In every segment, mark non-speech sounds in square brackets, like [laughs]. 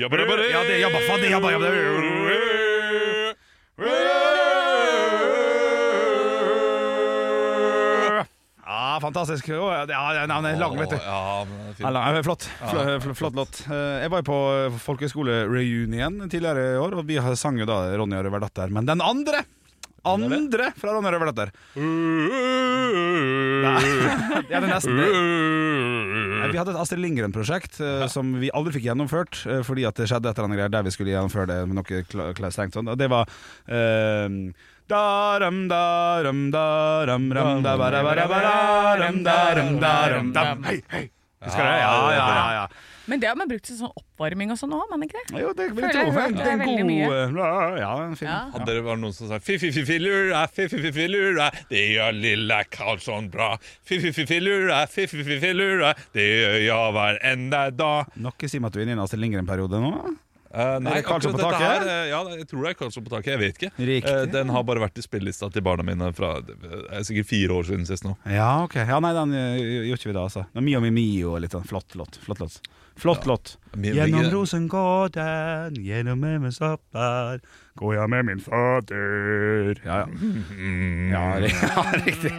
Jabba, jabba, ja, det, jabba, faen, det, jabba, jabba. Ja, fantastisk. Å, Ja, det- ja, navnet er lang, vet du. Ja, men det er Ja, fint. lang, flott. Fl- fl- Flott låt. Eh, Jeg var jo på folkehøyskole-reunion tidligere i år, og vi har- sang jo da 'Ronja Røverdatter'. Men den andre! Andre fra Ronja Røverdatter. Ja, [laughs] det er nesten det. Nei, Eh, Vi hadde et Astrid Lindgren-prosjekt eh, som vi aldri fikk gjennomført, eh, fordi at det skjedde et eller annet greier der vi skulle gjennomføre det med noe kla kla strengt sånn. Og det var eh, Daram, daram, daram, ram, da, ba, da, ba, da, ba, da, ram, daram, daram, dam. Hei, hei! Husker du det? Ja, ja, ja. ja. Men det har man brukt til sånn oppvarming og sånn òg, har man ikke det? Jo, det vil jeg Føler tro. jeg for hørte Det er en veldig god mye. eh, Ja, en fin. Ja. Hadde det vært noen som sa Fi-fi-fi-fi-lura, fi-fi-fi-fi-lura, ah, det gjør lilla Karlsson bra. Fi-fi-fi-fi-lura, fi-fi-fi-fi-lura, ah, det gjør jeg hver enda dag. Noe sier meg at du er inne i en Astrid Lindgren-periode nå. Eh, nei, det Karlsson akkurat på dette taket? eh, ja, jeg tror det er Karlsson på taket. Jeg vet ikke. Riktig. Eh, den har bare vært i spillelista til barna mine fra eh, sikkert fire år siden sist nå. Ja, ok. Ja, nei, den eh, gjorde ikke vi da, altså. Men Mio mi mio og litt sånn. Flott låt. Flott låt. Flott låt. Mi- Gjennom mi- Rosengården, gjennom Memmes opper, går jeg med min fader Ja, ja. Ja, [laughs] ri- ja riktig.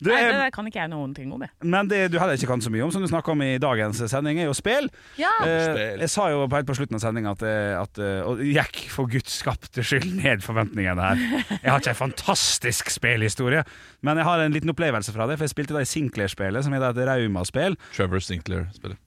Du, Nei, eh, det der kan ikke jeg noen ting om, jeg. men det du heller ikke kan så mye om, som du snakka om i dagens sending, er jo spill. Ja. Eh, Spill. jeg sa jo helt på slutten av sendinga at, eh, at eh, Og gikk for guds skapte skyld ned forventningene her. Jeg har ikke ei fantastisk spillhistorie, men jeg har en liten opplevelse fra det. For jeg spilte da i Sinclair-spelet, som heter et Rauma-spill. Trevor Sinclair spiller.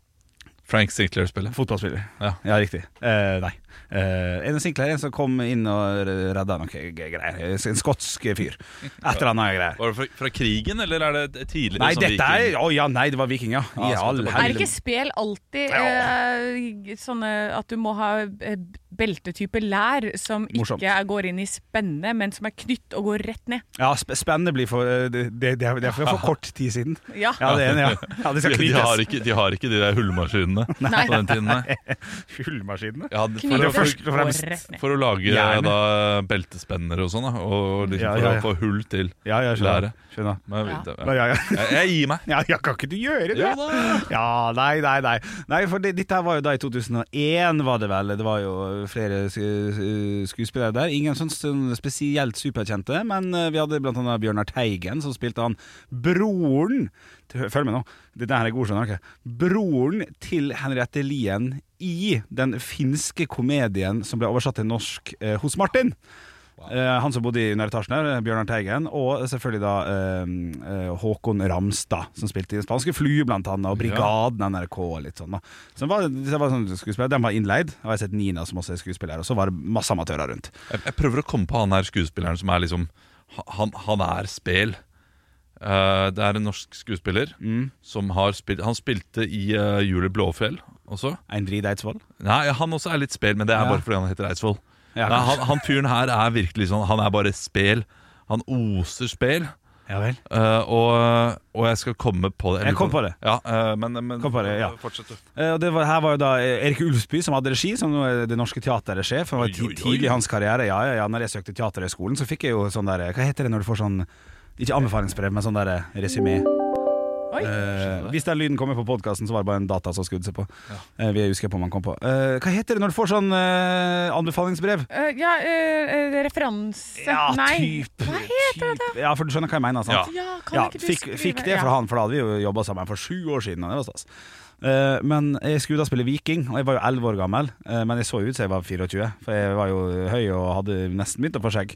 Frank Sinclair spiller. Fotballspiller. Ja. Ja, riktig. Eh, nei. Eh, en Sinclair en som kom inn og redda noe g- greier. En skotsk fyr. Et eller annet greier. Var det fra, fra krigen, eller er det tidligere? Nei, som dette viking? er Å ja, nei, det var viking, ja. I Ja, all skotsk. Er helvete. ikke spel alltid eh, sånne at du må ha eh, beltetype lær som Morsomt. ikke er- går inn i spenne, men som er knytt og går rett ned? Ja, sp spennende blir for eh, Det, det, det er det er for kort tid siden. Ja. Ja, det er [laughs] en, ja. ja det De, skal de, har knyttes. ikke, de har ikke de der hullmaskinene Nei. på den tiden. Nei. Hullmaskinene. Ja, det- Knytt for, og for, først og fremst- går rett ned. for å lage Gjerne. da, beltespenner og sånn, da, og liksom, Ja, ja, for ja. å få hull til. Ja, jeg skjønner. Lære. skjønner. Men, Ja. det- Ja, ja, [laughs] ja. Jeg, jeg gir meg. Ja, ja, kan ikke du gjøre det? Jo da. [laughs] Ja, nei, nei, nei. nei for det, dette her var jo da i 2001, var det vel. Det var jo flere sku- skuespillere der. Ingen sånn, sånn spesielt superkjente, men eh, vi hadde blant annet Bjørnar Teigen, som spilte han broren til, Følg med nå, dette her er god, skjønner dere. Broren til Henriette Lien i den finske komedien som ble oversatt til norsk eh, hos Martin. Eh, han som bodde i underetasjen her, eh, Bjørnar Teigen, og selvfølgelig da eh, eh, Håkon Ramstad, som spilte i Spanske Fly, blant annet, og Brigaden NRK og litt sånn. da. Så det var, det var sånn skuespiller. Den var innleid, og jeg har sett Nina som også er skuespiller, og så var det masse amatører rundt. Jeg, jeg prøver å komme på han her skuespilleren som er liksom Han, han er spel. Eh, det er en norsk skuespiller Mm. som har spilt Han spilte i uh, Julie Blåfjell også. Eindrid Eidsvoll. Nei, han også er litt spel, men det er Ja. bare fordi han heter Eidsvoll. Ja, Nei, han, han fyren her er virkelig sånn Han er bare spel. Han oser spel. Ja vel. Eh, og, og jeg skal komme på det. Jeg kom på det. Ja, eh, men, men Kom på det, ja. fortsett, du. Eh, Og det var, her var jo da eh, Erik Ulfsby som hadde regi, som nå er Det Norske Teatret er sjef. Han var Oi, ti- oi, oi. tidlig i hans karriere. Ja, ja, ja, når jeg søkte Teaterhøgskolen, så fikk jeg jo sånn der eh, Hva heter det når du får sånn Ikke anbefalingsbrev, men sånn der eh, resymé. Oi. Eh, hvis den lyden kommer på podkasten, så var det bare en data som skudde seg på. Eh, vi husker på om han kom på. Eh, hva heter det når du får sånn eh, anbefalingsbrev? Eh, ja, eh, eh, referanse Nei. typ, typ. Ja, for du skjønner hva jeg mener, sant? Ja. Ja, kan Ja, ikke du fikk, skrive fikk det Ja. fra han, for da hadde vi jo jobba sammen for sju år siden. Og det var stas. Eh, Men jeg skulle da spille viking, og jeg var jo 11 år gammel. eh, Men jeg så ut som jeg var 24, for jeg var jo høy og hadde nesten begynt å få skjegg.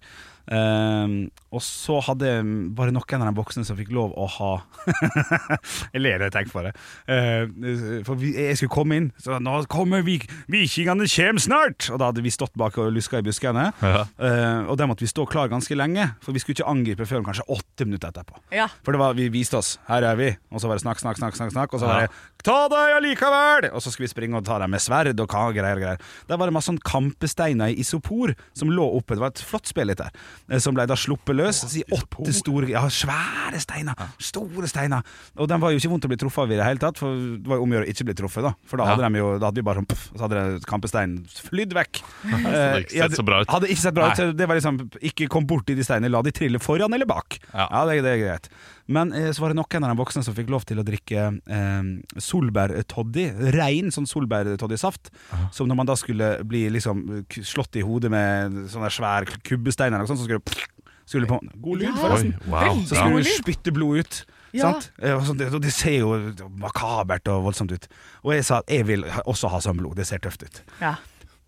Eh, og så hadde jeg bare noen av de voksne som fikk lov å ha [laughs] Jeg ler når jeg tenker på det. Eh, For vi- jeg skulle komme inn, så nå kommer vi, vikingene kjem snart! Og da hadde vi stått bak og luska i buskene. Ja. Eh, Og der måtte vi stå klar ganske lenge, for vi skulle ikke angripe før kanskje åtte minutter etterpå. Ja. For det var, vi viste oss, her er vi Og så var det snakk, snakk, snakk, snakk, snakk Og så var det, ta deg allikevel Og så skulle vi springe og ta deg med sverd og ka- greier, greier Der var det masse sånn kampesteiner i isopor Som lå oppe, det var et flott spill litt der eh, Som ble da sluppet løs Så i åtte store, ja, svære steiner Store steiner Og den var jo ikke vondt å bli truffet av i det hele tatt For det var jo omgjør å ikke bli truffet da For da hadde, Ja. de jo, da hadde vi bare sånn, pff, og Så hadde det- kampesteinen flydd vekk Eh, ikke sett [laughs] så bra ut. Hadde ikke sett bra ut Nei. så Det var liksom, ikke kom bort i de steinene La de trille foran eller bak Ja. ja, det, det er greit. Men eh, så var det noen av de voksne som fikk lov til å drikke eh, solbærtoddy. Rein sånn solbærtoddysaft. Som når man da skulle bli liksom k- slått i hodet med sånne svær kubbestein eller noe sånt, sånn, så skulle du skulle på God lyd, Oi, forresten. wow. Så Ja. skulle god du lyd. spytte blod ut. Ja. Sant? Eh, og sånt, og det ser jo makabert og voldsomt ut. Og jeg sa at jeg vil ha- også ha sånn blod. Det ser tøft ut. Ja.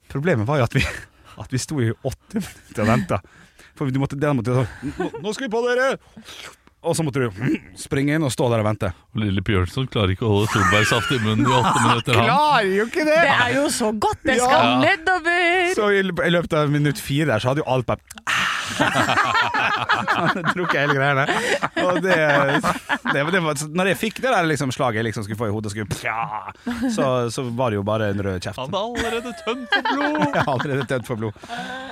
Problemet var jo at vi, [laughs] at vi sto i åtte minutter og venta. For du måtte, den måtte jo sånn nå, 'Nå skal vi på, dere!' Og så måtte du springe inn og stå der og vente. Og Lille Bjørnson klarer ikke å holde solbærsaft i munnen i åtte minutter. Han. Klarer jo ikke det! Det er jo så godt! Det skal Ja. nedover! Så i løp- i løpet av minutt fire der, så hadde jo alt bare [laughs] Sånn, Drukket hele greiene. Og det, det, det var, så når jeg fikk det der liksom, slaget jeg liksom skulle få i hodet, og skulle, pja, så, så var det jo bare en rød kjeft. Han er allerede tømt for blod! [laughs] Jeg har allerede tømt for blod.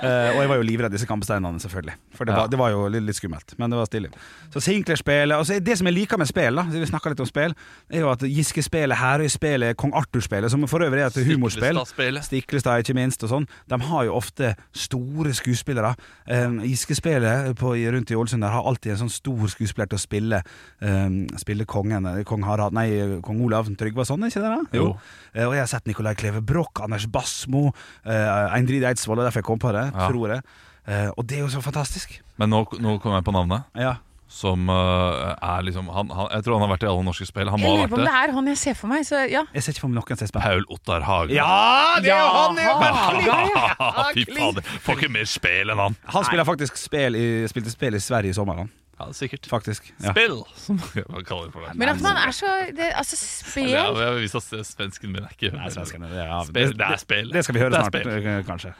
Eh, og jeg var jo livredd disse kampsteinene, selvfølgelig. For det var, det var jo litt, litt skummelt. Men det var stilig. Så Sinclair-spelet og så er Det som jeg liker med spill, da, siden vi snakker litt om spill, er jo at Giske-spelet, Herøy-spelet, Kong Arthur-spelet, som for øvrig er et humorspill Stiklestad-spelet. Stiklestad, ikke minst, og sånn. De har jo ofte store skuespillere. Um, Giske-spelet på- i- rundt i Ålesund der har alltid en sånn stor skuespiller til å spille um, Spille kongen, eh, kong Harald Nei, kong Olav Tryggvason, er ikke det? da? Jo. Eh, Og jeg har sett Nicolai Kleve Broch, Anders Basmo, eh, Eindrid Eidsvoll, og derfor jeg kom på det, Ja. tror jeg. Eh, og det er jo så fantastisk. Men nå, nå kom jeg på navnet, Ja. som eh, er liksom han, han, Jeg tror han har vært i alle norske spill. Han Jeg må ha lurer vært på om det. det er han jeg ser for meg. Så ja. Jeg ser ikke for meg noen som er spennende. Paul Ottar Hage. [laughs] Ja, det er jo han! det er jo Jaha. han! Fy fader, får ikke mer spill enn han. Han spiller faktisk spel i, spilte spill i Sverige i sommer, han. Ja, sikkert. Faktisk. [laughs] Ja. Spill, som man kaller det for det. Men at man er så det, Altså, Det er- spel jeg vil vise at svensken min er ikke Nei, svenskene, det, er- Spill, det er spill. det skal vi høre Det er snart, spill. eh, kanskje.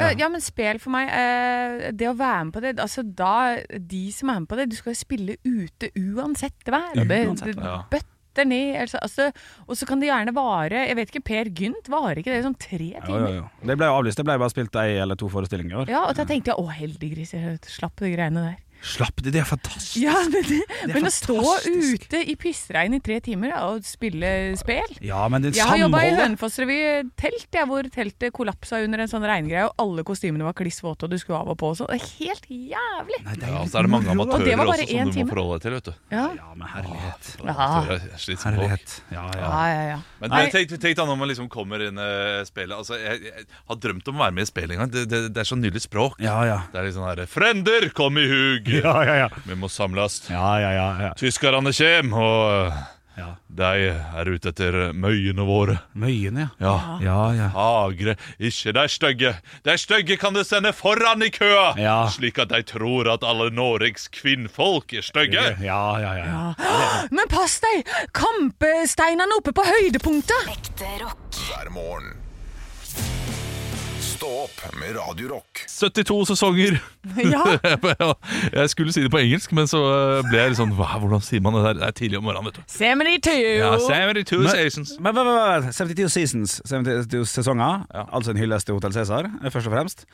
Ja, ja, men spel for meg eh, Det å være med på det Altså da De som er med på det Du skal jo spille ute uansett vær og det, Uansett det vær, bøtter ned altså, altså, Og så kan det gjerne vare Jeg vet ikke, Per Gynt Varer ikke det sånn tre Jo, timer? jo, jo. Det ble jo avlyst. Det ble bare spilt ei eller to forestillinger i år. Ja, og da tenkte jeg Å, heldiggris jeg Slapp de greiene der Slapp det, det er fantastisk! Ja, men, det, er [laughs] men å stå fantastisk. ute i pissregn i tre timer ja, Og spille spel Ja, men det Jeg har jobba i samholdet Hønefoss-revy telt, jeg, hvor teltet kollapsa under en sånn regngreie, og alle kostymene var kliss våte, og du skulle av og på og sånn. Det er Helt jævlig! Nei, det Ja, jo og så er det mange moro, da. Og det amatører var bare også én som du time. må forholde deg til, vet du. Ja, Ja, men herlighet. ja, Jeg er slitsom på. Herlighet. Ja, ja. ja. ja. Men Nei. det- tenk, tenk da når man liksom kommer inn i spillet altså, jeg, jeg har drømt om å være med i spillet en gang. Det, det, det er så nydelig språk. Ja, ja. Det er litt sånn herre Frender, kom i hug! Ja, ja, ja. Vi må samles. Ja, ja, ja, ja. Tyskerne kjem, og eh, Ja. de er ute etter møyene våre. Møyene, ja. Ja. Ja, ja. Hagre, ikke de stygge. De stygge kan du sende foran i køa, Ja. slik at de tror at alle Norges kvinnfolk er stygge. Ja, ja, ja. ja. Men pass deg! Kampesteinene oppe på høydepunktet! hver morgen. Stå opp med Radio Rock. 72 sesonger. [laughs] Ja, jeg skulle si det på engelsk, men så ble jeg litt sånn hva, Hvordan sier man det der? Det er tidlig om morgenen, vet du. se med de Ja, [laughs] tøyene! 72 seasons. Men, men, men, men 72 seasons, 72 sesonger, altså en hyllest til Hotel Cæsar, eh, først og [laughs] fremst.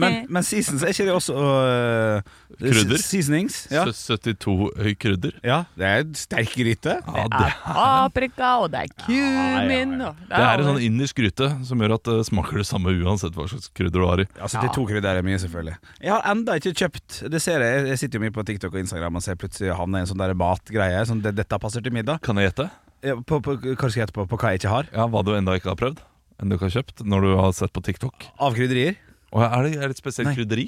Men, men seasons, er ikke det også øh, Krydder? se- Seasonings? Ja. Ja. 72 krydder. ja. Det er en sterk gryte. Ja, det, Paprika, og det er kumin og det [laughs] er en sånn indisk gryte som gjør at det smaker det samme uansett hva slags krydder du har i. Altså til to krydder er mye, selvfølgelig. Jeg har enda ikke kjøpt Det ser jeg, jeg sitter jo mye på TikTok og Instagram og ser plutselig havne i en sånn der matgreie. Sånn, det, 'Dette passer til middag'. Kan jeg gjette? Ja, På, på, hva skal jeg hete på, på hva jeg ikke har? Ja, Hva du enda ikke har prøvd? Enn du ikke har kjøpt? Når du har sett på TikTok? Av krydderier? Og er det er det et spesielt Nei. krydderi?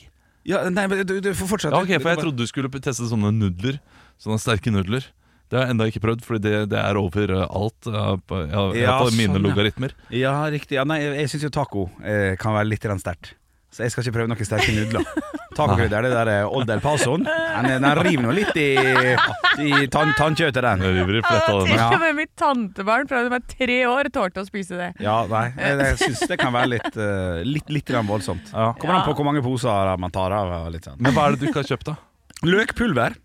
Ja, nei, men du, du får fortsette. Ja, ok, Du For kan jeg bare- trodde du skulle teste sånne nudler. Sånne sterke nudler. Det har jeg ennå ikke prøvd, fordi det, det er over eh, alt. eh, på- ja, Ja, på mine sånn, ja. logaritmer. Ja, riktig. Ja, nei, jeg syns jo taco eh, kan være litt grann sterkt. Så jeg skal ikke prøve noen sterke [laughs] nudler. Tacokrydder, det der eh, Old El Pasoen, den, den river nå litt i, i tann, tannkjøttet, den. Jeg river i fletta av denne. Til og med mitt tantebarn fra hun var tre år, tålte å spise det. Ja, nei, jeg, jeg syns det kan være litt, eh, litt, litt grann voldsomt. Kommer an på hvor mange poser man tar av. og Litt sånn. Men hva er det du ikke har kjøpt, da? Løkpulver.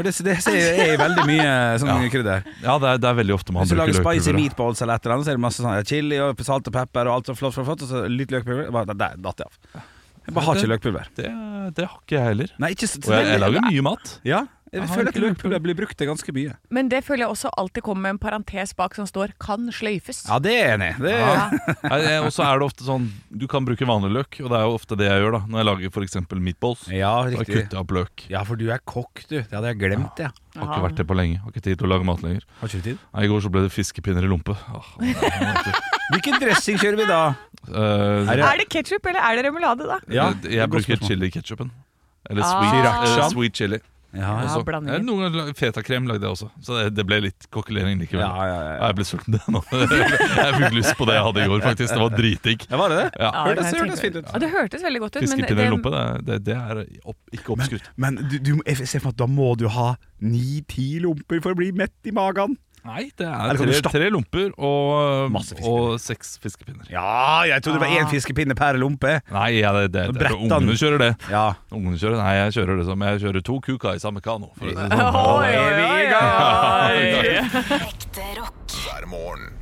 For det, det ser jeg er veldig mye sånn Ja. krydder. Ja, det er, det er veldig ofte man Hvis du lager bruker spicy løkpulver. meatballs eller et eller annet, så er det masse sånn ja, chili og salt og pepper og alt sånn flott, flott, flott, og så litt løkpulver. Bare, Der der datt jeg av. Jeg bare har ikke løkpulver. Det, det har ikke jeg heller. Nei, ikke så, Og jeg, jeg lager mye mat. Ja, jeg, Jeg har føler ikke at løkpulver blir brukt til ganske mye. Men det føler jeg også alltid kommer med en parentes bak som står 'kan sløyfes'. Ja, det er jeg enig. i. Det, Ja. Nei, jeg- Og så er det ofte sånn Du kan bruke vanlig løk, og det er jo ofte det jeg gjør da når jeg lager f.eks. meatballs. ja, Da riktig. kutter jeg opp løk. Ja, for du er kokk, du. Det hadde jeg glemt, ja. Har ikke vært det på lenge. Har ikke tid til å lage mat lenger. Har ikke du tid? Nei, I går så ble det fiskepinner i lompe. [laughs] Åh, det er noe annet. Hvilken dressing kjører vi da? Eh, Er det- Er det ketsjup eller er det remulade, da? Ja, det- det er jeg et godt bruker spørsmål. chili-ketchupen. Eller Ah. sweet, Sriracha. eh, sweet chili. Ja, Ja, også. Eh, blandinger. Noen ganger la- fetakrem lagde jeg også, så det, det ble litt kokkelering likevel. ja, ja. Ja, Jeg ble sulten [laughs] det nå. Jeg fikk lyst på det jeg hadde i går, faktisk. Det var dritdigg. ja var det det? Ja. Hørtes- det kan jeg hørtes tenke fint ut. meg. Ja, det hørtes veldig godt ut. men Fiskepinner i det- lompe, det, er- det, det er opp, ikke oppskrytt. Men du, du, jeg ser for meg at da må du ha ni-ti lomper for å bli mett i magen. Nei, det Eller er kan du tre, stappe- tre lomper og, Masse fiskepinner. og seks fiskepinner. Ja, jeg trodde det var én fiskepinne per lompe. Nei, ja, det, det, det, Brettan. ungene kjører det. Ja. Ungene kjører, nei, jeg kjører det som Jeg kjører to kuka i samme kano. For å si det sånn. Oi, oi, oi, [laughs] oi. hver morgen.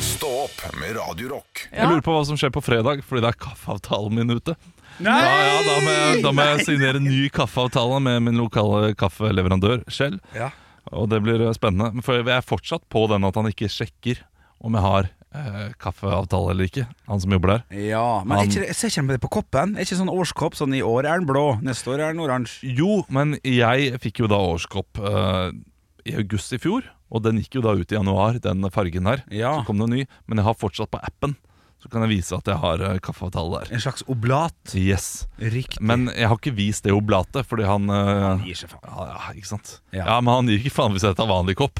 Stå opp med Radio Rock. Jeg lurer på hva som skjer på fredag, fordi det er kaffeavtalen min ute. Nei! Da, ja, da, må jeg, da må jeg signere en ny kaffeavtale med min lokale kaffeleverandør, Shell. Ja. Og det blir eh, spennende. Men For jeg er fortsatt på den at han ikke sjekker om jeg har eh, kaffeavtale eller ikke, han som jobber der. Ja, men er ikke, det- jeg ser ikke det på koppen. Er ikke sånn årskopp sånn i år er den blå, neste år er den oransje. Jo, men jeg fikk jo da årskopp eh, i august i fjor, og den gikk jo da ut i januar, den fargen her. Ja. Så kom det en ny, men jeg har fortsatt på appen. Så kan jeg vise at jeg har eh, kaffeavtale der. En slags oblat. Yes. Riktig. Men jeg har ikke vist det oblatet, fordi han eh, Gir seg faen. ja, ja, ikke sant? Ja. Ja. men han gir ikke faen hvis jeg tar vanlig kopp.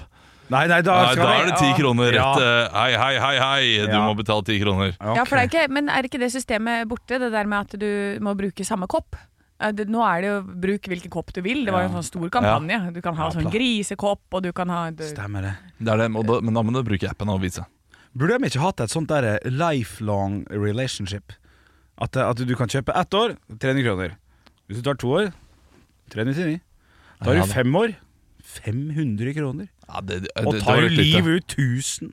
Nei, nei, da Nei, skal da vi- er det ti kroner Ja. rett. eh, Hei, hei, hei, hei, du Ja. må betale ti kroner. Ok. Ja, for det er ikke, men er ikke det systemet borte, det der med at du må bruke samme kopp? Eh, Det, nå er det jo bruk hvilken kopp du vil. Det var jo en sånn stor kampanje. Du kan ha sånn grisekopp, og du kan ha Stemmer det. Det er det, og da, men da må du bruke appen og vise. Burde de ikke hatt et sånt der eh, lifelong relationship? At, eh, at du kan kjøpe ett år, 300 kroner. Hvis du tar to år, 399. Tar Ja, du det- fem år, 500 kroner. Ja, det, det, Og det var tar litt jo lite. livet ut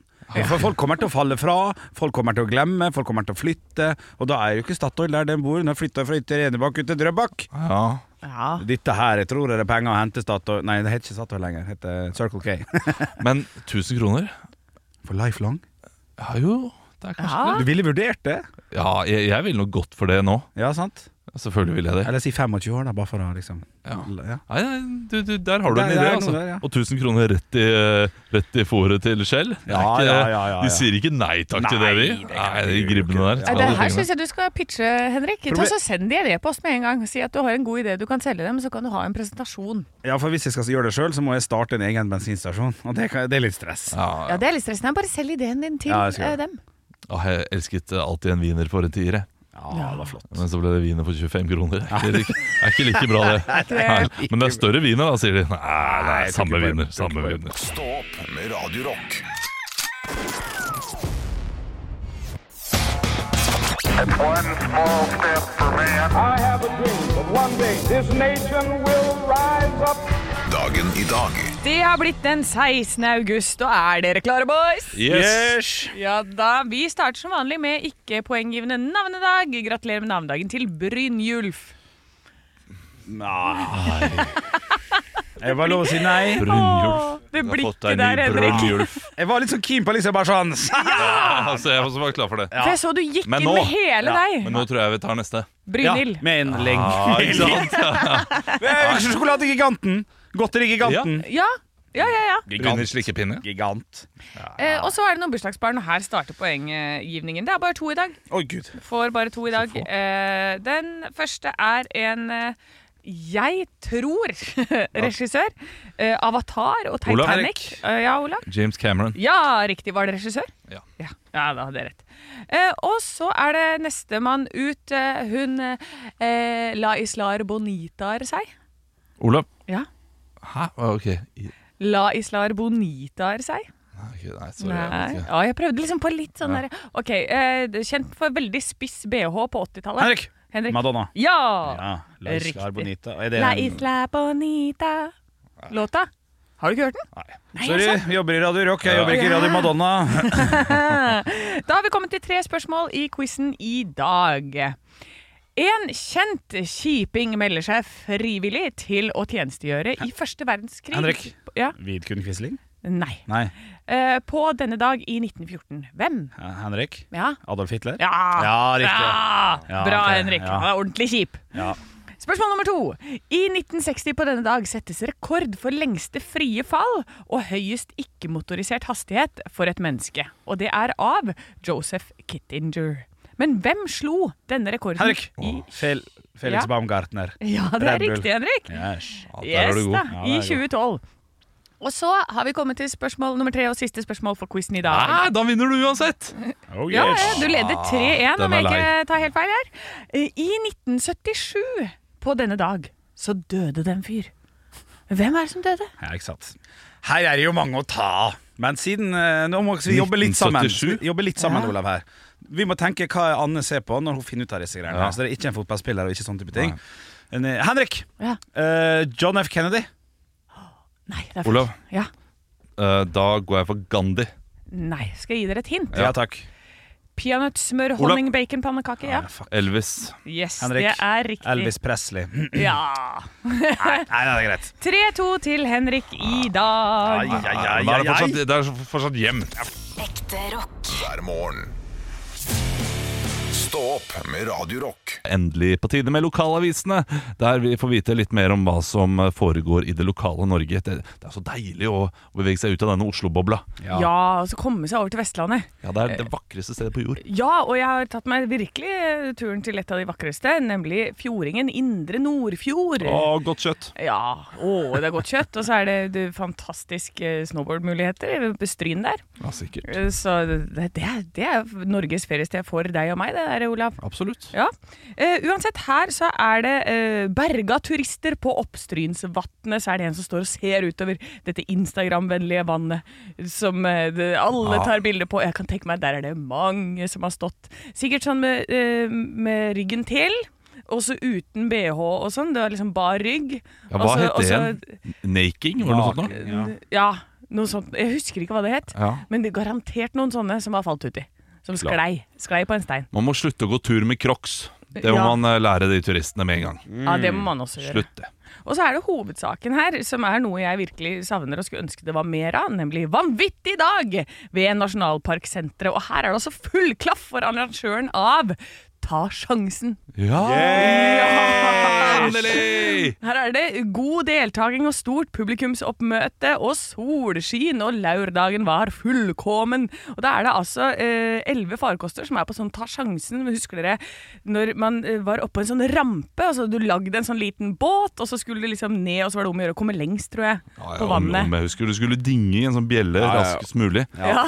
1000. For folk kommer til å falle fra, folk kommer til å glemme, folk kommer til å flytte. Og da er jo ikke Statoil der den bor. Hun har flytta fra Ytre Enebakk ut til Drøbak. Ja. Ja. Dette her, jeg tror det er penger å hente Statoil Nei, det heter ikke Statoil lenger. Det heter Circle K. [laughs] Men 1000 kroner? For lifelong. Ja jo, det er kanskje Ja. Du ville vurdert det? Ja, jeg, jeg vil noe godt for det nå. Ja, sant? Selvfølgelig vil jeg det. Eller si 25 år, da, bare for å liksom Ja. ja. Nei, nei, du, du, der har du Der- en der idé, er noe altså. der, ja. Og 1000 kroner rett i, rett i fôret til Shell. Det er Ja, ikke- ja, ja, ja, ja. De sier ikke nei takk til det, Nei, de. det kan Nei, de de jo gribbene ikke. der. Nei, skal Det alle her tingene. syns jeg du skal pitche, Henrik. Ta Proble- så Send de en e-post med en gang. Si at du har en god idé du kan selge dem, så kan du ha en presentasjon. Ja, for hvis jeg skal gjøre det sjøl, så må jeg starte en egen bensinstasjon. Og det, kan, det er litt stress. Ja, Ja, Det er litt stressende. Bare selg ideen din til Ja, jeg skal eh, gjøre dem. Åh, Ah, jeg elsket alltid en wiener for en tier, jeg. Ja, det var flott. Men så ble det wiener for 25 kroner. Det er ikke, er ikke like bra, [laughs] det. Nei, men det er større wiener, da, sier de. Nei, nei jeg tror samme ikke bare- wiener. tror ikke Samme bare- wiener. Stå opp med Radio Rock. I have a dream that one day this nation will rise up. Dagen i dag Det har blitt den 16. august, og er dere klare, boys? Yes! Ja da, Vi starter som vanlig med ikke-poenggivende navnedag. Gratulerer med navnedagen til Brynjulf. Nei Jeg var lov å si nei. Brynjulf. Du Det har fått blikket deg en der, ny Henrik. [laughs] Brynjulf. Jeg var litt sånn keen på liksom bare sånn Ah, så jeg var klar for det. For jeg så du gikk Men inn nå- med hele Men deg. nå tror jeg vi tar neste. Ja, Brynhild. med en leng. Ah, ikke sant? Eh, Sjokoladegiganten. Godterigiganten. Ja. Ja, ja, ja. Brynhild slikkepinne. Gigant. Eh, og så er det noen bursdagsbarn, og her starter poenggivningen. Det er bare to i dag. Å, gud. Får bare to i dag. Eh, den første er en eh, Jeg tror [laughs] regissør. eh, Avatar og Olav Titanic. Erik. Eh, ja, Olav. James Cameron. Ja, riktig. Var det regissør? Ja. Ja, ja, da hadde jeg rett. Eh, og så er det nestemann ut. eh, hun eh, La Islar Bonitar seg. Olav? Ja. Hæ? Å, Ok. I- La Islar Bonitar seg. Nei, ok, nei, sorry. jeg vet Nei. ikke. Ja, jeg prøvde liksom på litt sånn Ja. der Ok, eh, kjent for veldig spiss BH på 80-tallet. Henrik! Henrik. Madonna. Ja! Ja, La Isla Riktig. Bonita. Er det La en- Isla Bonita. Låta. Har du ikke hørt den? Nei, Sorry, altså. jeg jobber i Radio Rock, jeg Ja. jobber ikke i Radio [laughs] Madonna. Da har vi kommet til tre spørsmål i quizen i dag. En kjent kjiping melder seg frivillig til å tjenestegjøre i første verdenskrig. Henrik. Ja, Vidkun Quisling? nei. Nei. Eh, på denne dag i 1914. Hvem? Eh, Henrik? Ja. Adolf Hitler? Ja, Ja, riktig. Bra, Ja, bra ok, Henrik. ja. Han er ordentlig kjip. Ja. Spørsmål nummer to. I 1960 på denne dag settes rekord for lengste frie fall og høyest ikke-motorisert hastighet for et menneske. Og det er av Joseph Kittinger. Men hvem slo denne rekorden? Henrik! I Fel Felix Ja. Baumgartner. [laughs] ja, det er Red Bull. riktig, Henrik. Yes. Ja, der er Yes du god. da, Ja, der i er du 2012. Og så har vi kommet til spørsmål nummer tre og siste spørsmål for quizen i dag. Nei, da vinner du uansett! Oh, Ja, yes. ja, du leder 3-1, om den er jeg ikke tar helt feil her. Eh, I 1977, på denne dag, så døde det en fyr. Hvem er det som døde? Ja, ikke sant. Her er det jo mange å ta av. Men siden eh, Nå må vi jobbe litt sammen. 1977? Vi Jobbe litt sammen, Olav, her. Vi må tenke hva Anne ser på når hun finner ut av disse greiene. Ja. Så det er ikke en fotballspiller og ikke sånne type ting. En, eh, Henrik! Ja. Eh, John F. Kennedy. Nei, det er Olav. feil. Ja. Eh, da går jeg for Gandhi. Nei, skal jeg gi dere et hint? Ja, takk. Peanøttsmør, Olav. honning, bacon, pannekake. Ja. Elvis. Yes, Henrik. det er riktig. Elvis Presley. [clears throat] Nei, Ja. nei, det er greit. 3-2 til Henrik i dag. Ai, ai, Ja, da er ai, det ai, ai. fortsatt, det er fortsatt jevnt. hver morgen. Stå opp med Radio Rock. endelig på tide med lokalavisene, der vi får vite litt mer om hva som foregår i det lokale Norge. Det, det er så deilig å bevege seg ut av denne Oslo-bobla. Eh. Ja. og så komme seg over til Vestlandet. Ja, det er det vakreste stedet på jord. Ja, og jeg har tatt meg virkelig turen til et av de vakreste, nemlig Fjordingen Indre Nordfjord. godt kjøtt. Ja, å, det er godt kjøtt, og så er det, det fantastiske snowboardmuligheter ved Stryn der. Ja, sikkert. Eh, Så det, det, er, det er Norges feriested for deg og meg, det der, Olav. Absolutt. Ja. Eh, uansett, her så er det eh, berga turister på Oppstrynsvatnet. Så er det en som står og ser utover dette Instagram-vennlige vannet som eh, det, alle Ja. tar bilder på. Jeg kan tenke meg der er det mange som har stått. Sikkert sånn med, eh, med ryggen til. Også uten bh og sånn. Det var liksom bar rygg. Ja, hva Også- het det også- igjen? Naking, var det noe sånt nå? Ja. altså, Ja, noe sånt. Jeg husker ikke hva det het. Ja. Men det er garantert noen sånne som har falt uti. Som Klart. sklei. Sklei på en stein. Man må slutte å gå tur med crocs. Det må Ja. man eh, lære de turistene med en gang. Ja, det må man også gjøre. Slutt det. Og så er det hovedsaken her, som er noe jeg virkelig savner og skulle ønske det var mer av, nemlig Vanvittig dag ved Nasjonalparksenteret. Og her er det også full klaff for arrangøren av Ta sjansen. Ja! Endelig! Her er det god deltaking og stort publikumsoppmøte og solskin, og lørdagen var fullkommen. Og da er det altså elleve farkoster som er på sånn ta sjansen. Husker dere når man eh, var oppå en sånn rampe, og så hadde du lagd en sånn liten båt, og så skulle du liksom ned, og så var det om å gjøre å komme lengst, tror jeg, Ja, ja, på om- om vannet. jeg husker, du skulle dinge i en sånn bjelle ja. raskest mulig.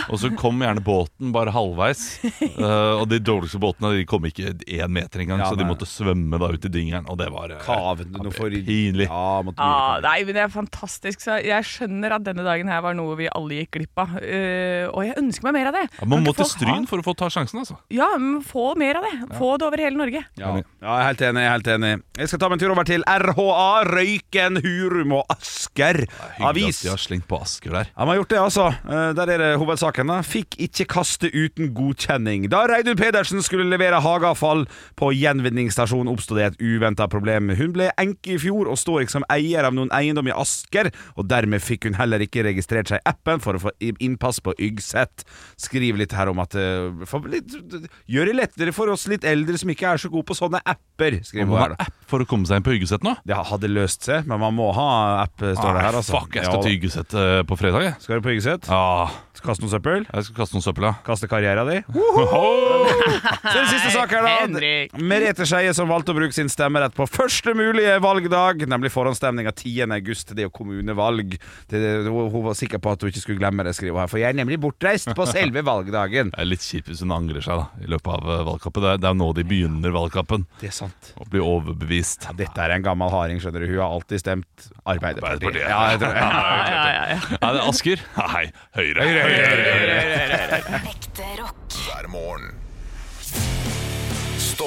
Og så kom gjerne båten bare halvveis. [laughs] eh, og de dårligste båtene de kom ikke én meter engang, Ja, så de nei. måtte svømme da ut i dingeren. Og det var eh, Kaven du nå for pinlig. Ja, måtte du Ja, nei, men det er fantastisk. Så jeg skjønner at denne dagen her var noe vi alle gikk glipp av. Eh, og jeg ønsker meg mer av det. Ja, man Kan må ikke til folk ha- Stryn for å få ta sjansen, altså. Ja, men få mer av det. Få det over hele Norge. Ja. ja, jeg er helt enig. jeg er helt enig Jeg skal ta meg en tur over til RHA, Røyken, Hurum og Asker Hyggelig avis. at de har slengt på Asker der. Ja, man har gjort det, altså. Eh, Der er det hovedsaken. da Fikk ikke kaste uten godkjenning. Da Reidun Pedersen skulle levere hageavfall på gjenvinningsstasjonen, oppstod det et uventa problem. Hun ble enke i fjor og står ikke som eier av noen eiendom i Asker, og dermed fikk hun heller ikke registrert seg i appen for å få i- innpass på Yggset. Skriver litt her om at eh, for litt, Gjør det lettere for oss litt eldre som ikke er så gode på sånne apper, skriver Man hun må her. ha da. app for å komme seg inn på Hyggeset nå. Det hadde løst seg, men man må ha app, står det her, Nei, altså. Ah, Fuck, jeg skal Ja, til Hyggeset eh, på fredag, jeg. Ah, Skal du på Yggset? Ja, Kaste noe søppel? jeg skal kaste noen søppel, ja. Kaste karrieren din? [laughs] Ho! Så er det siste sak her, da Henrik. Merete Skeie som valgte å bruke sin stemmerett på første mulige valgdag, nemlig forhåndsstemninga 10.8. Det er jo kommunevalg. Det, hun hun var sikker på at hun ikke skulle glemme det, skriver hun her. For jeg er nemlig bortreist på [laughs] selve valgdagen. Det er litt kjipt hvis hun angrer seg da i løpet av eh, valgkampen. Det er, det er jo nå de begynner valgkampen, Det er sant. og blir overbevist. Dette er en gammel harding, skjønner du. Hun har alltid stemt Arbeiderpartiet. Arbeiderpartiet. Ja, jeg tror det. Ja, ja, ja. [laughs] Er det Asker? Nei, Høyre. Høyre, Ekte rock. hver morgen. Stå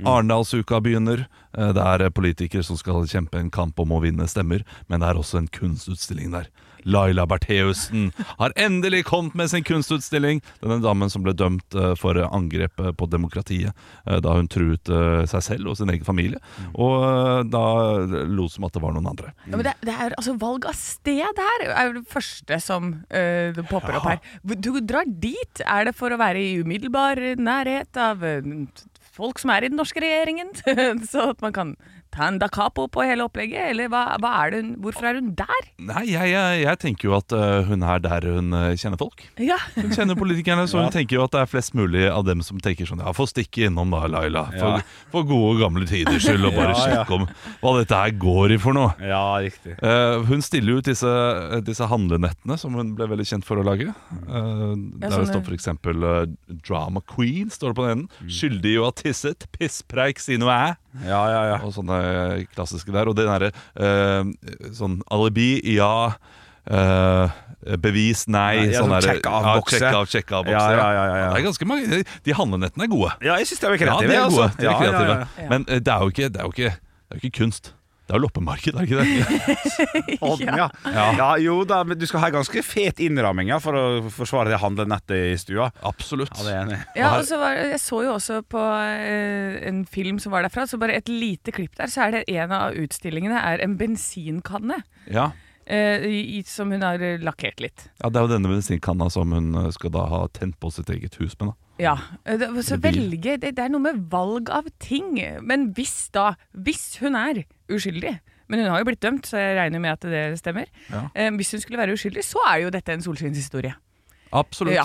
Mm. Arendalsuka begynner. Eh, Det er politikere som skal kjempe en kamp om å vinne stemmer, men det er også en kunstutstilling der. Laila Bertheussen har endelig kommet med sin kunstutstilling! Denne damen som ble dømt eh, for angrep eh, på demokratiet eh, da hun truet eh, seg selv og sin egen familie, og eh, da lot som at det var noen andre. Ja, men det, det er altså Valg av sted her er jo det første som eh, det popper opp her. Du drar dit. Er det for å være i umiddelbar nærhet av eh, folk som er i den norske regjeringen? [laughs] Så at man kan ta en da capo på hele opplegget? Eller hva, hva er det hun, hvorfor er hun der? Nei, jeg, jeg, jeg tenker jo at eh, hun er der hun eh, kjenner folk. Ja, Hun kjenner politikerne, så hun tenker jo at det er flest mulig av dem som tenker sånn Ja, få stikke innom da, Laila. For, Ja. for gode gamle tiders skyld, og bare [laughs] Ja, ja. sjekke om hva dette her går i for noe. [laughs] Ja, riktig. Eh, hun stiller jo ut disse, disse handlenettene som hun ble veldig kjent for å lage. Eh, der det sånne- står f.eks. Uh, Drama Queen står det på den Mm. enden. Skyldig jo ha tisset, pisspreik, si noe æ. Ja, ja, ja. Og sånne klassiske der. Og det derre eh, sånn alibi, ja. eh, bevis, nei. Nei, ja, sånn sånn derre- sjekk av ja, bokse. Sjekk av, sjekk av bokse. Ja, ja, ja, ja, ja. Det er ganske mange De handlenettene er gode. Ja, jeg syns de er Ja, kreative. de er gode. altså. De er Ja, ja, kreative. ja. ja. Men eh, det er jo ikke, det er jo ikke, det er jo ikke kunst. Det er jo loppemarked, er det ikke [laughs] det? [laughs] Odden, ja. Ja. jo da, men du skal ha ganske fet innramming ja, for å forsvare det handlenettet i stua. Absolutt. Ja, det er jeg enig. i. ja og så var, Jeg så jo også på eh, en film som var derfra, så bare et lite klipp der, så er det en av utstillingene er en bensinkanne. Ja. eh, i, i- som hun har eh, lakkert litt. Ja, det er jo denne bensinkanna som hun eh, skal da ha tent på sitt eget hus med. da Ja, eh, det, så Eller bil. velge, det, det er noe med valg av ting. Men hvis da, hvis hun er uskyldig, men hun har jo blitt dømt, så jeg regner med at det stemmer. Ja. Eh, hvis hun skulle være uskyldig, så er jo dette en solskinnshistorie. Absolutt. Ja.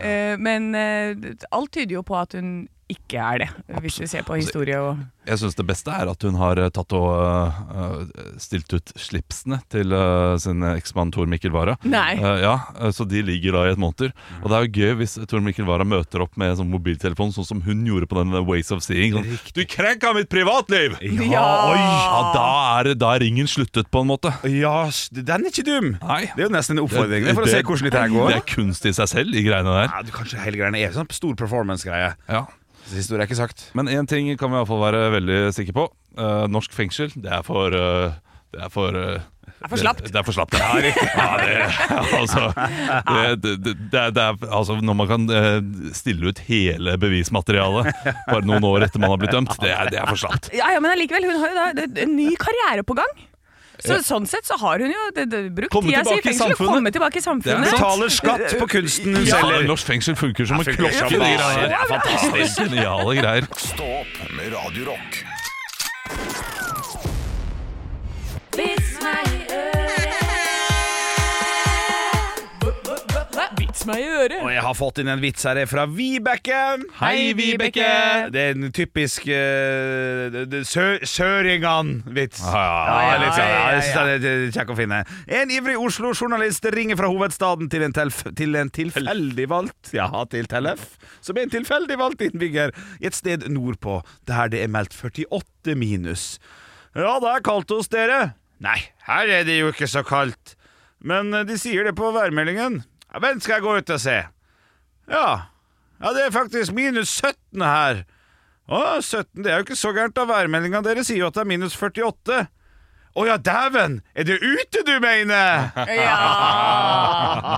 Eh, men eh, alt tyder jo på at hun ikke er det, hvis vi ser på Altså, historie og Jeg syns det beste er at hun har eh, tatt og eh, eh, stilt ut slipsene til eh, sin eksmann Tor Mikkel Wara. Nei. Eh, ja, eh, så de ligger da i et monter. Og det er jo gøy hvis Tor Mikkel Wara møter opp med sånn mobiltelefon, sånn som hun gjorde på den Ways of Seeing. Sånn, 'Du krenka mitt privatliv!' Ja! Oi, ja da, er, da er ringen sluttet, på en måte. Ja, s- den er ikke dum! Nei. Det er jo nesten en oppfordring det, for å se hvordan dette her går. Det er kunst i seg selv, de greiene der. Ja, du, kanskje hele greia er sånn stor performance-greie. Ja. Så Historie er ikke sagt. Men én ting kan vi iallfall være veldig sikre på. Eh, norsk fengsel, det er for eh, Det er for eh, er for slapt. Det, det er for slapt. Ja, det, [laughs] altså, det, det, det, er- det er altså Når man kan eh, stille ut hele bevismaterialet bare noen år etter man har blitt dømt, det er, det er for slapt. Ja, ja, men allikevel, hun har jo da det- en ny karriere på gang. Så, Sånn sett så har hun jo det, det, brukt Komme tida si i tilbake i fengsel og samfunnet. kommet tilbake i samfunnet. [laughs] Betaler skatt på kunsten hun selger. norsk fengsel funker som en funker klokke. som de bare- greiene der. det er fantastisk Geniale greier. Stå opp med Radio Rock. Hva? Vits meg i øret! Og jeg har fått inn en vits her fra Vibeke. Hei, Vibeke. Det er en typisk eh, det- det- sø Søringan-vits. Ja, litt sånn. Ja, jeg synes den er litt kjekk å finne. En ivrig Oslo-journalist ringer fra hovedstaden til en, telf til en tilfeldig valgt Ja, til Tellef, som er en tilfeldig valgt innbygger i et sted nordpå, der det er meldt 48 minus. Ja, det er kaldt hos dere. Nei, her er det jo ikke så kaldt. Men eh, de sier det på værmeldingen. Ja, vent, skal jeg gå ut og se. Ja. Ja, det er faktisk minus 17 her. Å, 17, det er jo ikke så gærent da. Værmeldinga deres sier jo at det er minus 48. Å ja, dæven! Er det ute du mener? Ja!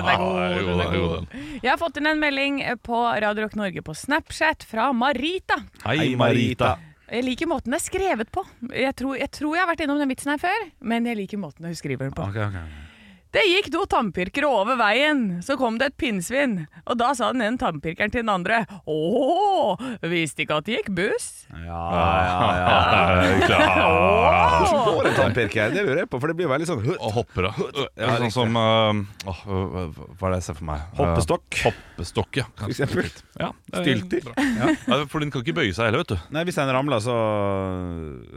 Ja, Ah, er god. Ah, den er god, den er god, Jeg Vi har fått inn en melding eh, på Radio Rock Norge på Snapchat fra Marita. Hei, Marita. Jeg liker måten det er skrevet på. Jeg tror, jeg tror jeg har vært innom den vitsen her før, men jeg liker måten hun skriver den på. Ok, ok. Det gikk to tannpirkere over veien, så kom det et pinnsvin, og da sa den ene tannpirkeren til den andre ååå, visste ikke at det gikk buss. Ja, ja, ja. Eh, klar. [laughs] Hvordan går en tannpirker? Det lurer jeg på, for det blir veldig sånn Og hopper av. Ja, sånn som eh, åh, Hva er det jeg ser for meg? Eh, Hoppestokk. Hoppestokk, ja. For eksempel. ja det er Stylter. bra. Ja, for den kan ikke bøye seg heller, vet du. Nei, hvis den ramler, så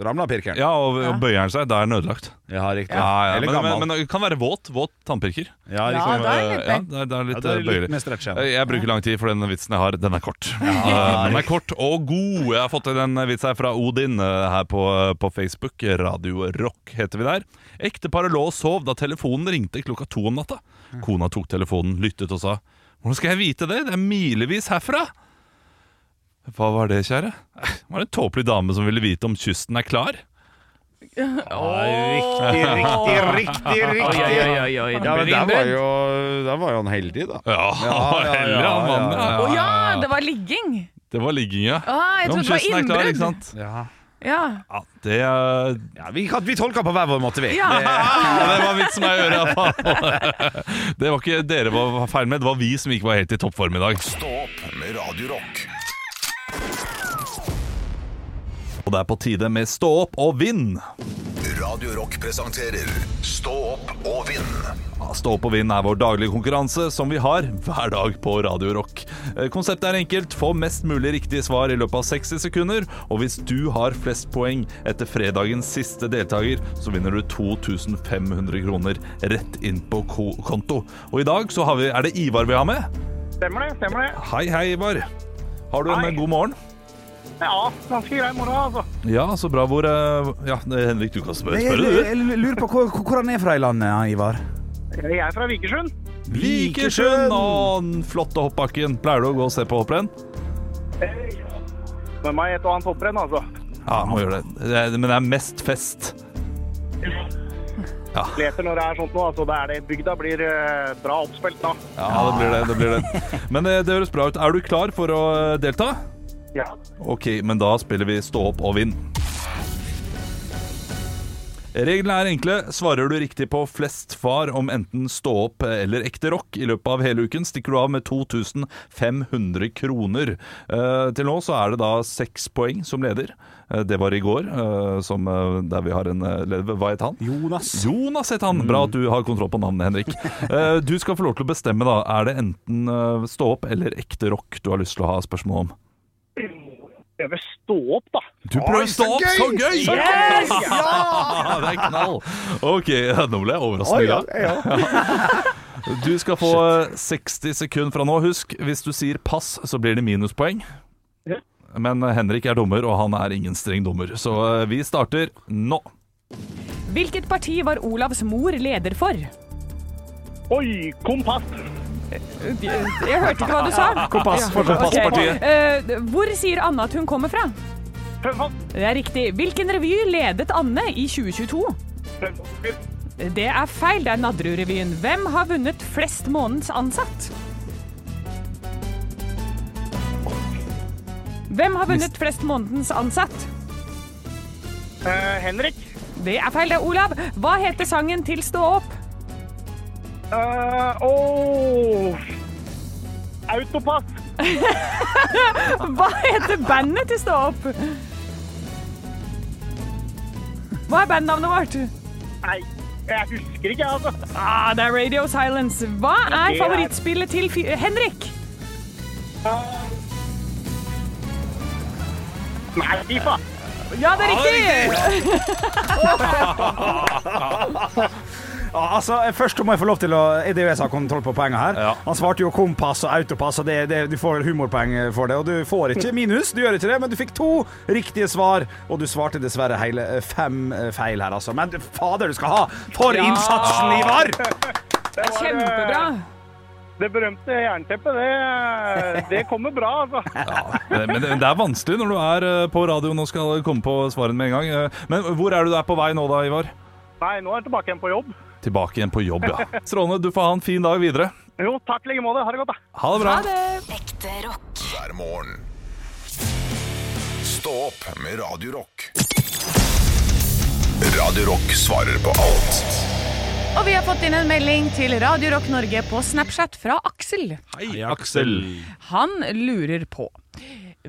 ramler pirkeren. Ja, og, og bøyer den seg, da er den ødelagt. ja riktig. Ja, ja, Eller men, gammel. men, men det kan være våt. Våt tannpirker. ja, riktig. Ja, da er det litt Eh, ja, det er, det er Ja, litt da eh, er det litt bøyelig. mer stretch, ja. Eh, Jeg bruker lang tid, for den vitsen jeg har, den er kort. Eh, den er kort og god. Jeg har fått inn en vits her fra Odin eh, her på, på Facebook. Radio Rock heter vi der. Ekteparet lå og sov da telefonen ringte klokka to om natta. Mm. Kona tok telefonen, lyttet og sa Hvordan skal jeg vite det? Det er milevis herfra! Hva var det, kjære? Eh, Det var en tåpelig dame som ville vite om kysten er klar. Riktig, riktig, riktig, riktig. oi, oi. Ja, men der var, jo, der var jo han heldig, da. Ja, ja, ja, heller han ja, mannen. Å ja, ja. det var ligging. Det var ligging, ja. Ah, jeg Om trodde det var kysten er klar, innbrudd. ikke sant? Ja. Ja. Ja, det er Ja, vi, kan- vi tolka på hver vår måte, vi. ja. Ja, Ah, det var vits meg i øret, iallfall. [laughs] Det var ikke dere var var feil med, det var vi som ikke var helt i toppform i dag. Stå opp med Radio Rock. Og det er på tide med Stå opp og vinn. Radio Rock presenterer Stå opp og vinn. Ja, Stå opp og vinn er vår daglige konkurranse som vi har hver dag på Radio Rock. Eh, Konseptet er enkelt. Få mest mulig riktige svar i løpet av 60 sekunder. Og hvis du har flest poeng etter fredagens siste deltaker, så vinner du 2500 kroner rett inn på ko- konto. Og i dag så har vi, er det Ivar vi har med. Stemmer det, stemmer det. Hei, hei, Ivar. Har du en Hei. god morgen? Ja, ganske grei moro, altså. Ja, så bra. Hvor eh, Ja, det- Henrik, du kan spørre, Jeg, spørre du. lurer på hvor, hvor han er fra i landet, ja, Ivar. Jeg er fra Vikersund. Vikersund og den flotte hoppbakken. Pleier du å gå og se på hopprenn? Med meg et og annet hopprenn, altså. Ja, må gjøre det. det. er- Men det er mest fest. Leter når det er sånt nå, altså. Det er det. Bygda blir eh, bra oppspilt nå. Ja, det blir det. det, blir [laughs] det. Men eh, det høres bra ut. Er du klar for å eh, delta? Ja. Ok, men da spiller vi Stå opp og vinn. Reglene er enkle. Svarer du riktig på flest far om enten stå opp eller ekte rock i løpet av hele uken, stikker du av med 2500 kroner. Eh, til nå så er det da seks poeng som leder. Eh, det var i går, eh, som, eh, der vi har en eh, leder. Hva het han? Jonas. Jonas het han. Bra at du har kontroll på navnet, Henrik. Eh, du skal få lov til å bestemme, da. Er det enten eh, stå opp eller ekte rock du har lyst til å ha spørsmål om? Prøver stå opp, da. Du prøver å stå opp! Så gøy! Yes! [laughs] Ja, det er knall. Ok, ja, nå ble jeg overrasket. i dag. [laughs] Du skal få eh, 60 sekunder fra nå. Husk, hvis du sier pass, så blir det minuspoeng. Ja. Men eh, Henrik er dommer, og han er ingen streng dommer. Så eh, vi starter nå. Hvilket parti var Olavs mor leder for? Oi, kompass. Jeg hørte ikke hva du sa. Kompass for Kompasspartiet. Eh, hvor sier Anne at hun kommer fra? Prøv- Det er riktig. Hvilken revy ledet Anne i 2022? prøv- Det er feil, det er Nadderud-revyen. Hvem har vunnet flest måneds ansatt? Hvem har vunnet flest månedens ansatt? Eh, Henrik. Det er feil, det er Olav. Hva heter sangen til Stå opp? Eh, åh. Autopass. Hva heter bandet til Stå opp? Hva er bandnavnet vårt? Nei, jeg husker ikke, altså. Ah, det er Radio Silence. Hva er favorittspillet til fi Henrik? Nei, fy faen. Ja, det er riktig! Ja, altså, først må jeg få lov til å Er det jo jeg som har kontroll på poenget her? Ja. Han svarte jo kompass og autopass, og det, det, du får humorpoeng for det. Og du får ikke minus, du gjør ikke det, men du fikk to riktige svar. Og du svarte dessverre hele eh, fem eh, feil her, altså. Men fader, du skal ha for Ja. innsatsen, Ivar! Det var, eh, Kjempebra. Det berømte jernteppet, det, eh, det kommer bra, altså. Eh, Men det, men det er vanskelig når du er eh, på radioen og skal komme på svarene med en gang. Eh, Men hvor er du der på vei nå da, Ivar? Nei, nå er jeg tilbake igjen på jobb. Tilbake igjen på jobb, ja. Strålende. Du får ha en fin dag videre. Jo, takk i like måte. Ha det godt, da. Ha det bra! Ekte rock. hver morgen. Stå opp med Radio Rock. Radio Rock svarer på alt. Og vi har fått inn en melding til Radio Rock Norge på Snapchat fra Aksel. Hei, Aksel! Han lurer på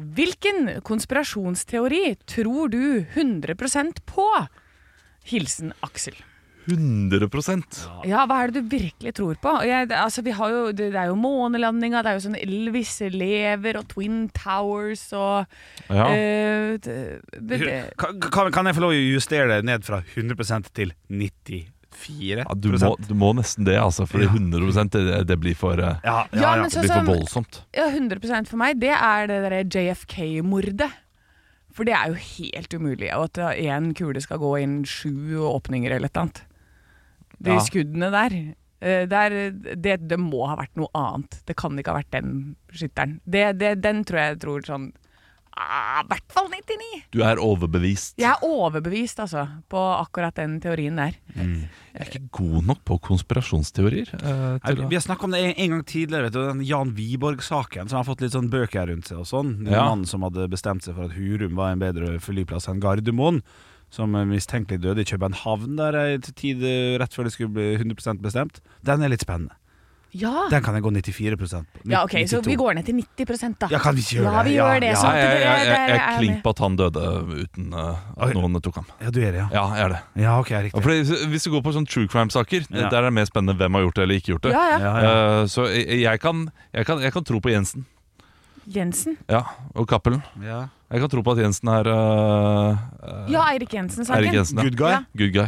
Hvilken konspirasjonsteori tror du 100 på? Hilsen Aksel. 100 Ja, hva er det du virkelig tror på? Og Jeg, det- altså, vi har jo, det, det er jo månelandinga, det er jo sånn Elvis lever og Twin Towers og Ja. eh, det, det, det, Kan, kan- kan jeg få lov å justere det ned fra 100 til 94 Ja, du, må, du må nesten det, altså. Fordi 100 det, det blir for eh, ja, ja, Ja, ja. men Det sånn blir for som voldsomt. ja, 100 for meg, det er det derre JFK-mordet. For det er jo helt umulig. Og at én kule skal gå inn sju åpninger eller et eller annet. De Ja. skuddene der. eh, der det, det må ha vært noe annet. Det kan ikke ha vært den skytteren. Det, det, den tror jeg tror sånn ah, I hvert fall 99! Du er overbevist. Jeg er overbevist, altså, på akkurat den teorien der. Jeg er ikke god nok på konspirasjonsteorier. eh, Nei, til å- Vi har snakka om det en, en gang tidligere, vet du, den Jan Wiborg-saken, som har fått litt sånn bøker rundt seg og sånn. Den Ja. mannen som hadde bestemt seg for at Hurum var en bedre flyplass enn Gardermoen. Som eh, mistenkelig døde i København der eh, til tid eh, rett før det skulle bli 100 bestemt. Den er litt spennende. Ja. Den kan jeg gå 94 på. ja, OK, så 92. vi går ned til 90 da. Ja, kan vi ikke gjøre Ja, det? vi Ja, gjør det. ja. sånn at jeg, jeg, jeg, dere- jeg, dere er er med. klink på at han døde uten eh, Oi. at noen tok ham. Ja, du er det, ja. Ja, jeg er det. Ja, ok, riktig. Ja, Fordi hvis du går på sånn true crime-saker, Ja. der er det mer spennende hvem har gjort det eller ikke gjort det. Ja, ja. Ja, ja. Eh, så jeg, jeg, kan, jeg, kan, jeg kan tro på Jensen. Jensen. Ja, og Cappelen. ja. Jeg kan tro på at Jensen er eh, eh, Ja, Eirik Jensen-saken. Eirik Jensen. Ja. Good guy? Ja. Good guy.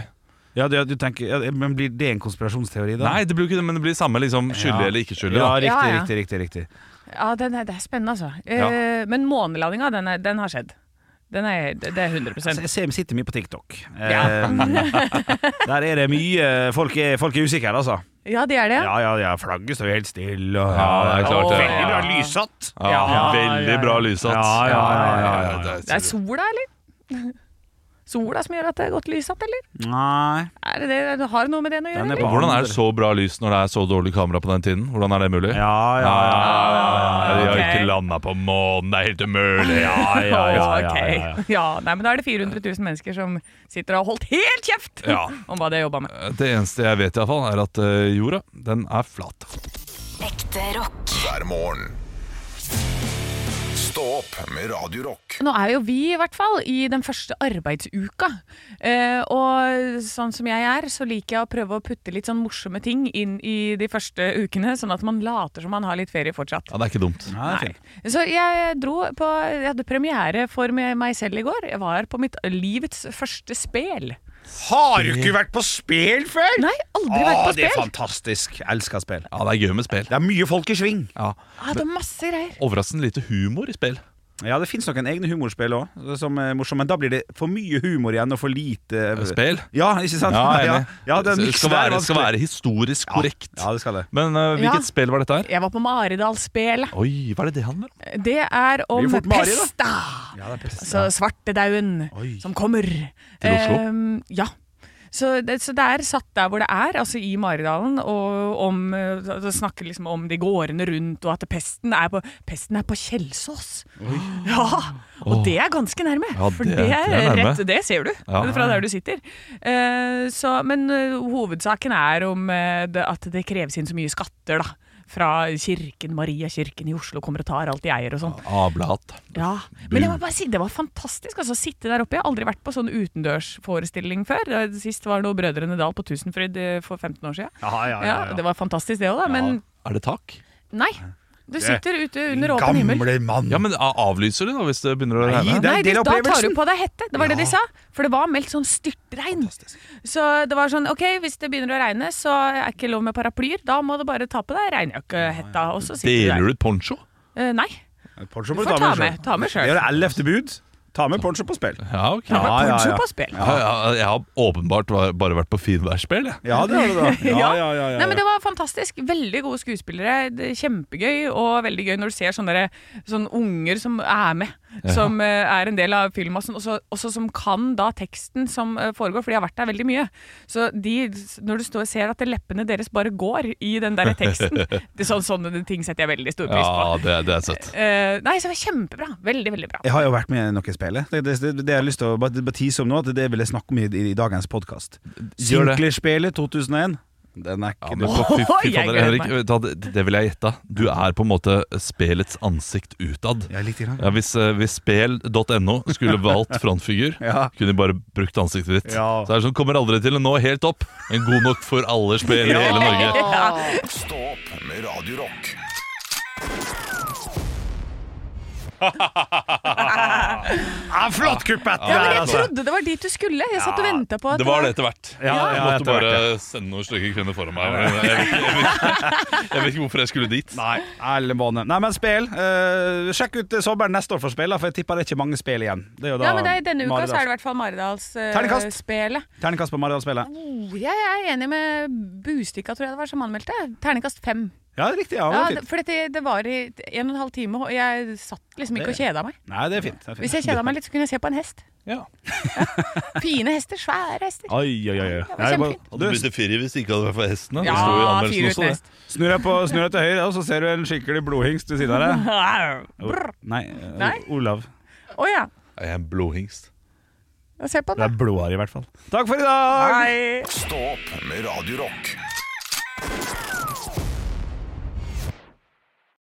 Ja, du, du tenker, ja, men Blir det en konspirasjonsteori, da? Nei, det blir jo ikke det, men det blir samme liksom, skyldig Ja. eller ikke skyldig. Ja, da. riktig, Ja, ja. riktig, riktig, riktig. Ja, den er, det er spennende, altså. Eh, Ja. Men månelandinga, den, er- den har skjedd. Den er, det det er 100 Altså, jeg ser vi sitter mye på TikTok. Ja. Eh, [laughs] der er det mye Folk er, folk er usikre, altså. Ja, det er det. Ja, ja, ja flagget står jo helt stille. Og, Ja, det er klart det. Veldig bra lyssatt. Ja, Ja, veldig ja, ja. bra lyssatt. Ja, ja, ja, ja, ja. Det er- Det er sola, eller? [laughs] Sola som gjør at det er godt lysatt, eller? Nei Er det det? Du har noe med det å Den gjøre? er eller? på- Hvordan er det så bra lys når det er så dårlig kamera på den tiden? Hvordan er det mulig? Ja, ja, ja. Ja, De har ok. ikke landa på månen, det er helt umulig! Ja, Ja, ja, ja, ja, Ok. [laughs] ja, ja. Ja, nei, men da er det 400 000 mennesker som sitter og har holdt helt kjeft Ja. [laughs] om hva de har jobba med. [laughs] Det eneste jeg vet, i hvert fall, er at eh, jorda den er flat. Ekte rock. hver morgen. Stå opp med Radio Rock. Nå er jo vi i hvert fall i den første arbeidsuka. Eh, og sånn som jeg er, så liker jeg å prøve å putte litt sånn morsomme ting inn i de første ukene, sånn at man later som man har litt ferie fortsatt. Ja, Det er ikke dumt. Ja, det er fint. Så jeg dro på Jeg hadde premiere for meg meg selv i går. Jeg var på mitt livets første spel. Har du ikke vært på spel før? Nei, aldri vært Å, på Ah, Det er spel. fantastisk. Jeg elsker spel. Ja, Det er gøy med spel. Det er mye folk i sving. Ja. Ja, Ah, det er masse greier. Overraskende lite humor i spill. Ja, det fins noen egne humorspill òg, som er morsomme. Men da blir det for mye humor igjen og for lite Spill? Ja, ikke sant? jeg ja, er enig. ja, det er miks skal, der, være, skal vanskelig. være historisk korrekt. Ja, det skal det. Men eh, Ja. hvilket spill var dette her? Jeg var på Maridalsspelet. Oi, hva er det det handler om? Det er om Blir fort Mari, da. pesta. Ja, det er pest. Så svartedauden Oi. som kommer. Til Oslo? Ehm, ja. Så det, så det er satt der hvor det er, altså i Maridalen, og om, eh, det snakker liksom om de gårdene rundt, og at pesten er på, pesten er på Kjelsås. Ja, og Åh. det er ganske nærme, Ja, for det- det er, det er nærme. rett, det ser du Ja. fra der du sitter. Eh, så, men eh, hovedsaken er om eh, det, at det kreves inn så mye skatter da, fra kirken, Mariakirken i Oslo kommer og tar alt de eier og sånn. Ablehatt. Ja, men jeg må bare si, det var fantastisk altså, å sitte der oppe. Jeg har aldri vært på sånn utendørsforestilling før. Eh, Sist var det noe Brødrene Dal på Tusenfryd eh, for 15 år siden. Ja, ja, ja, Ja, ja. det var fantastisk det òg, da. Men Er det tak? nei. Du sitter ute Din under åpen himmel. Gamle mann. Ja, men a- Avlyser du da hvis det begynner å Nei, regne? det er Nei, en de, del da av tar du opplevelsen. på deg hette. Det var det Ja. de sa. For det var meldt sånn styrtregn. Så det var sånn OK, hvis det begynner å regne, så er ikke lov med paraplyer. Da må du bare ta på deg regnjakkehetta, og så sitter du der. Deler du ut poncho? Eh, Nei. Poncho Du må du ta får ta med- med ta med selv. Det er det ellevte bud. Ta med poncho på spill. Ja, ok. Ta med Ah, Ja, ja, poncho ja. på spill. Ja, ja, jeg har åpenbart va- bare vært på finværsspill, jeg. [laughs] Ja, det har du da. Ja, ja, ja, ja, Nei, men det var fantastisk. Veldig gode skuespillere. Det er kjempegøy, og veldig gøy når du ser sånne, der- sånne unger som er med. Som eh, er en del av filmmassen, og så- også som kan da teksten som eh, foregår, for de har vært der veldig mye. Så de, når du står, ser at leppene deres bare går i den der [laughs] teksten det, sånn, Sånne ting setter jeg veldig stor pris på. Ja, det, det er søtt. Eh, nei, så det var kjempebra. Veldig, veldig bra. Jeg har jo vært med i noen spill. jeg. Det, det, det, det jeg har lyst til å bare, bare tease om nå, at det vil jeg snakke om i, i dagens podkast. Gjør det. Sinklerspelet 2001. Den er Ja, ikke men noe [laughs] for fy, fy Oi, jeg fader, gleder Henrik, meg. vet du hva, det, det vil jeg gjette. Du er på en måte spelets ansikt utad. Ja, litt grann. Ja, hvis eh, hvis spel.no [laughs] skulle valgt frontfigur, Ja. kunne de bare brukt ansiktet ditt. Ja. Så er det sånn, kommer aldri til å nå helt opp, men god nok for alle spill i hele Norge. Stå opp med Radio Rock. Ah, flott kuppett! Ja, men der, jeg altså. trodde det var dit du skulle. Jeg satt og venta på at Det var det etter hvert. Ja, jeg ja, måtte etter hvert, bare sende noen stygge kvinner foran meg. Jeg vet, ikke, jeg, vet ikke, jeg vet ikke hvorfor jeg skulle dit. Nei, alle måneder. Nei, men spill. eh, sjekk ut eh, sommeren neste år for spill, da, for jeg tipper det er ikke mange spill igjen. Det er jo da Ja, men det er, denne uka Maridals- så er det i hvert fall eh, Terningkast. Maridalsspelet. Terningkast på Maridalsspillet. jeg er enig med Bustikka, tror jeg det var, som anmeldte. Terningkast fem. Ja, det er riktig. Ja, det Ja, var det, fint. for dette, det var i en og en halv time, og jeg satt liksom ikke og kjeda meg. Nei, det er fint. Det er fint. Hvis jeg kjeda meg litt, så kunne jeg se på en hest. Ja. Fine hester. Svære hester. Oi, oi, oi. oi. var Nei, bare- kjempefint. Hadde du byttet ferie hvis det ikke hadde vært for hestene? Det Ja, sto jo i anmeldelsen fire også, uten det. hest. Snur deg, på, snur deg til høyre, og så ser du en skikkelig blodhingst ved siden av [laughs] deg. Å O- Nei, eh, Nei. Olav. ja. Jeg er en blodhingst. Se på Det er den, da. blod her, i hvert fall. Takk for i dag! Hei. Stå opp med Radio Rock.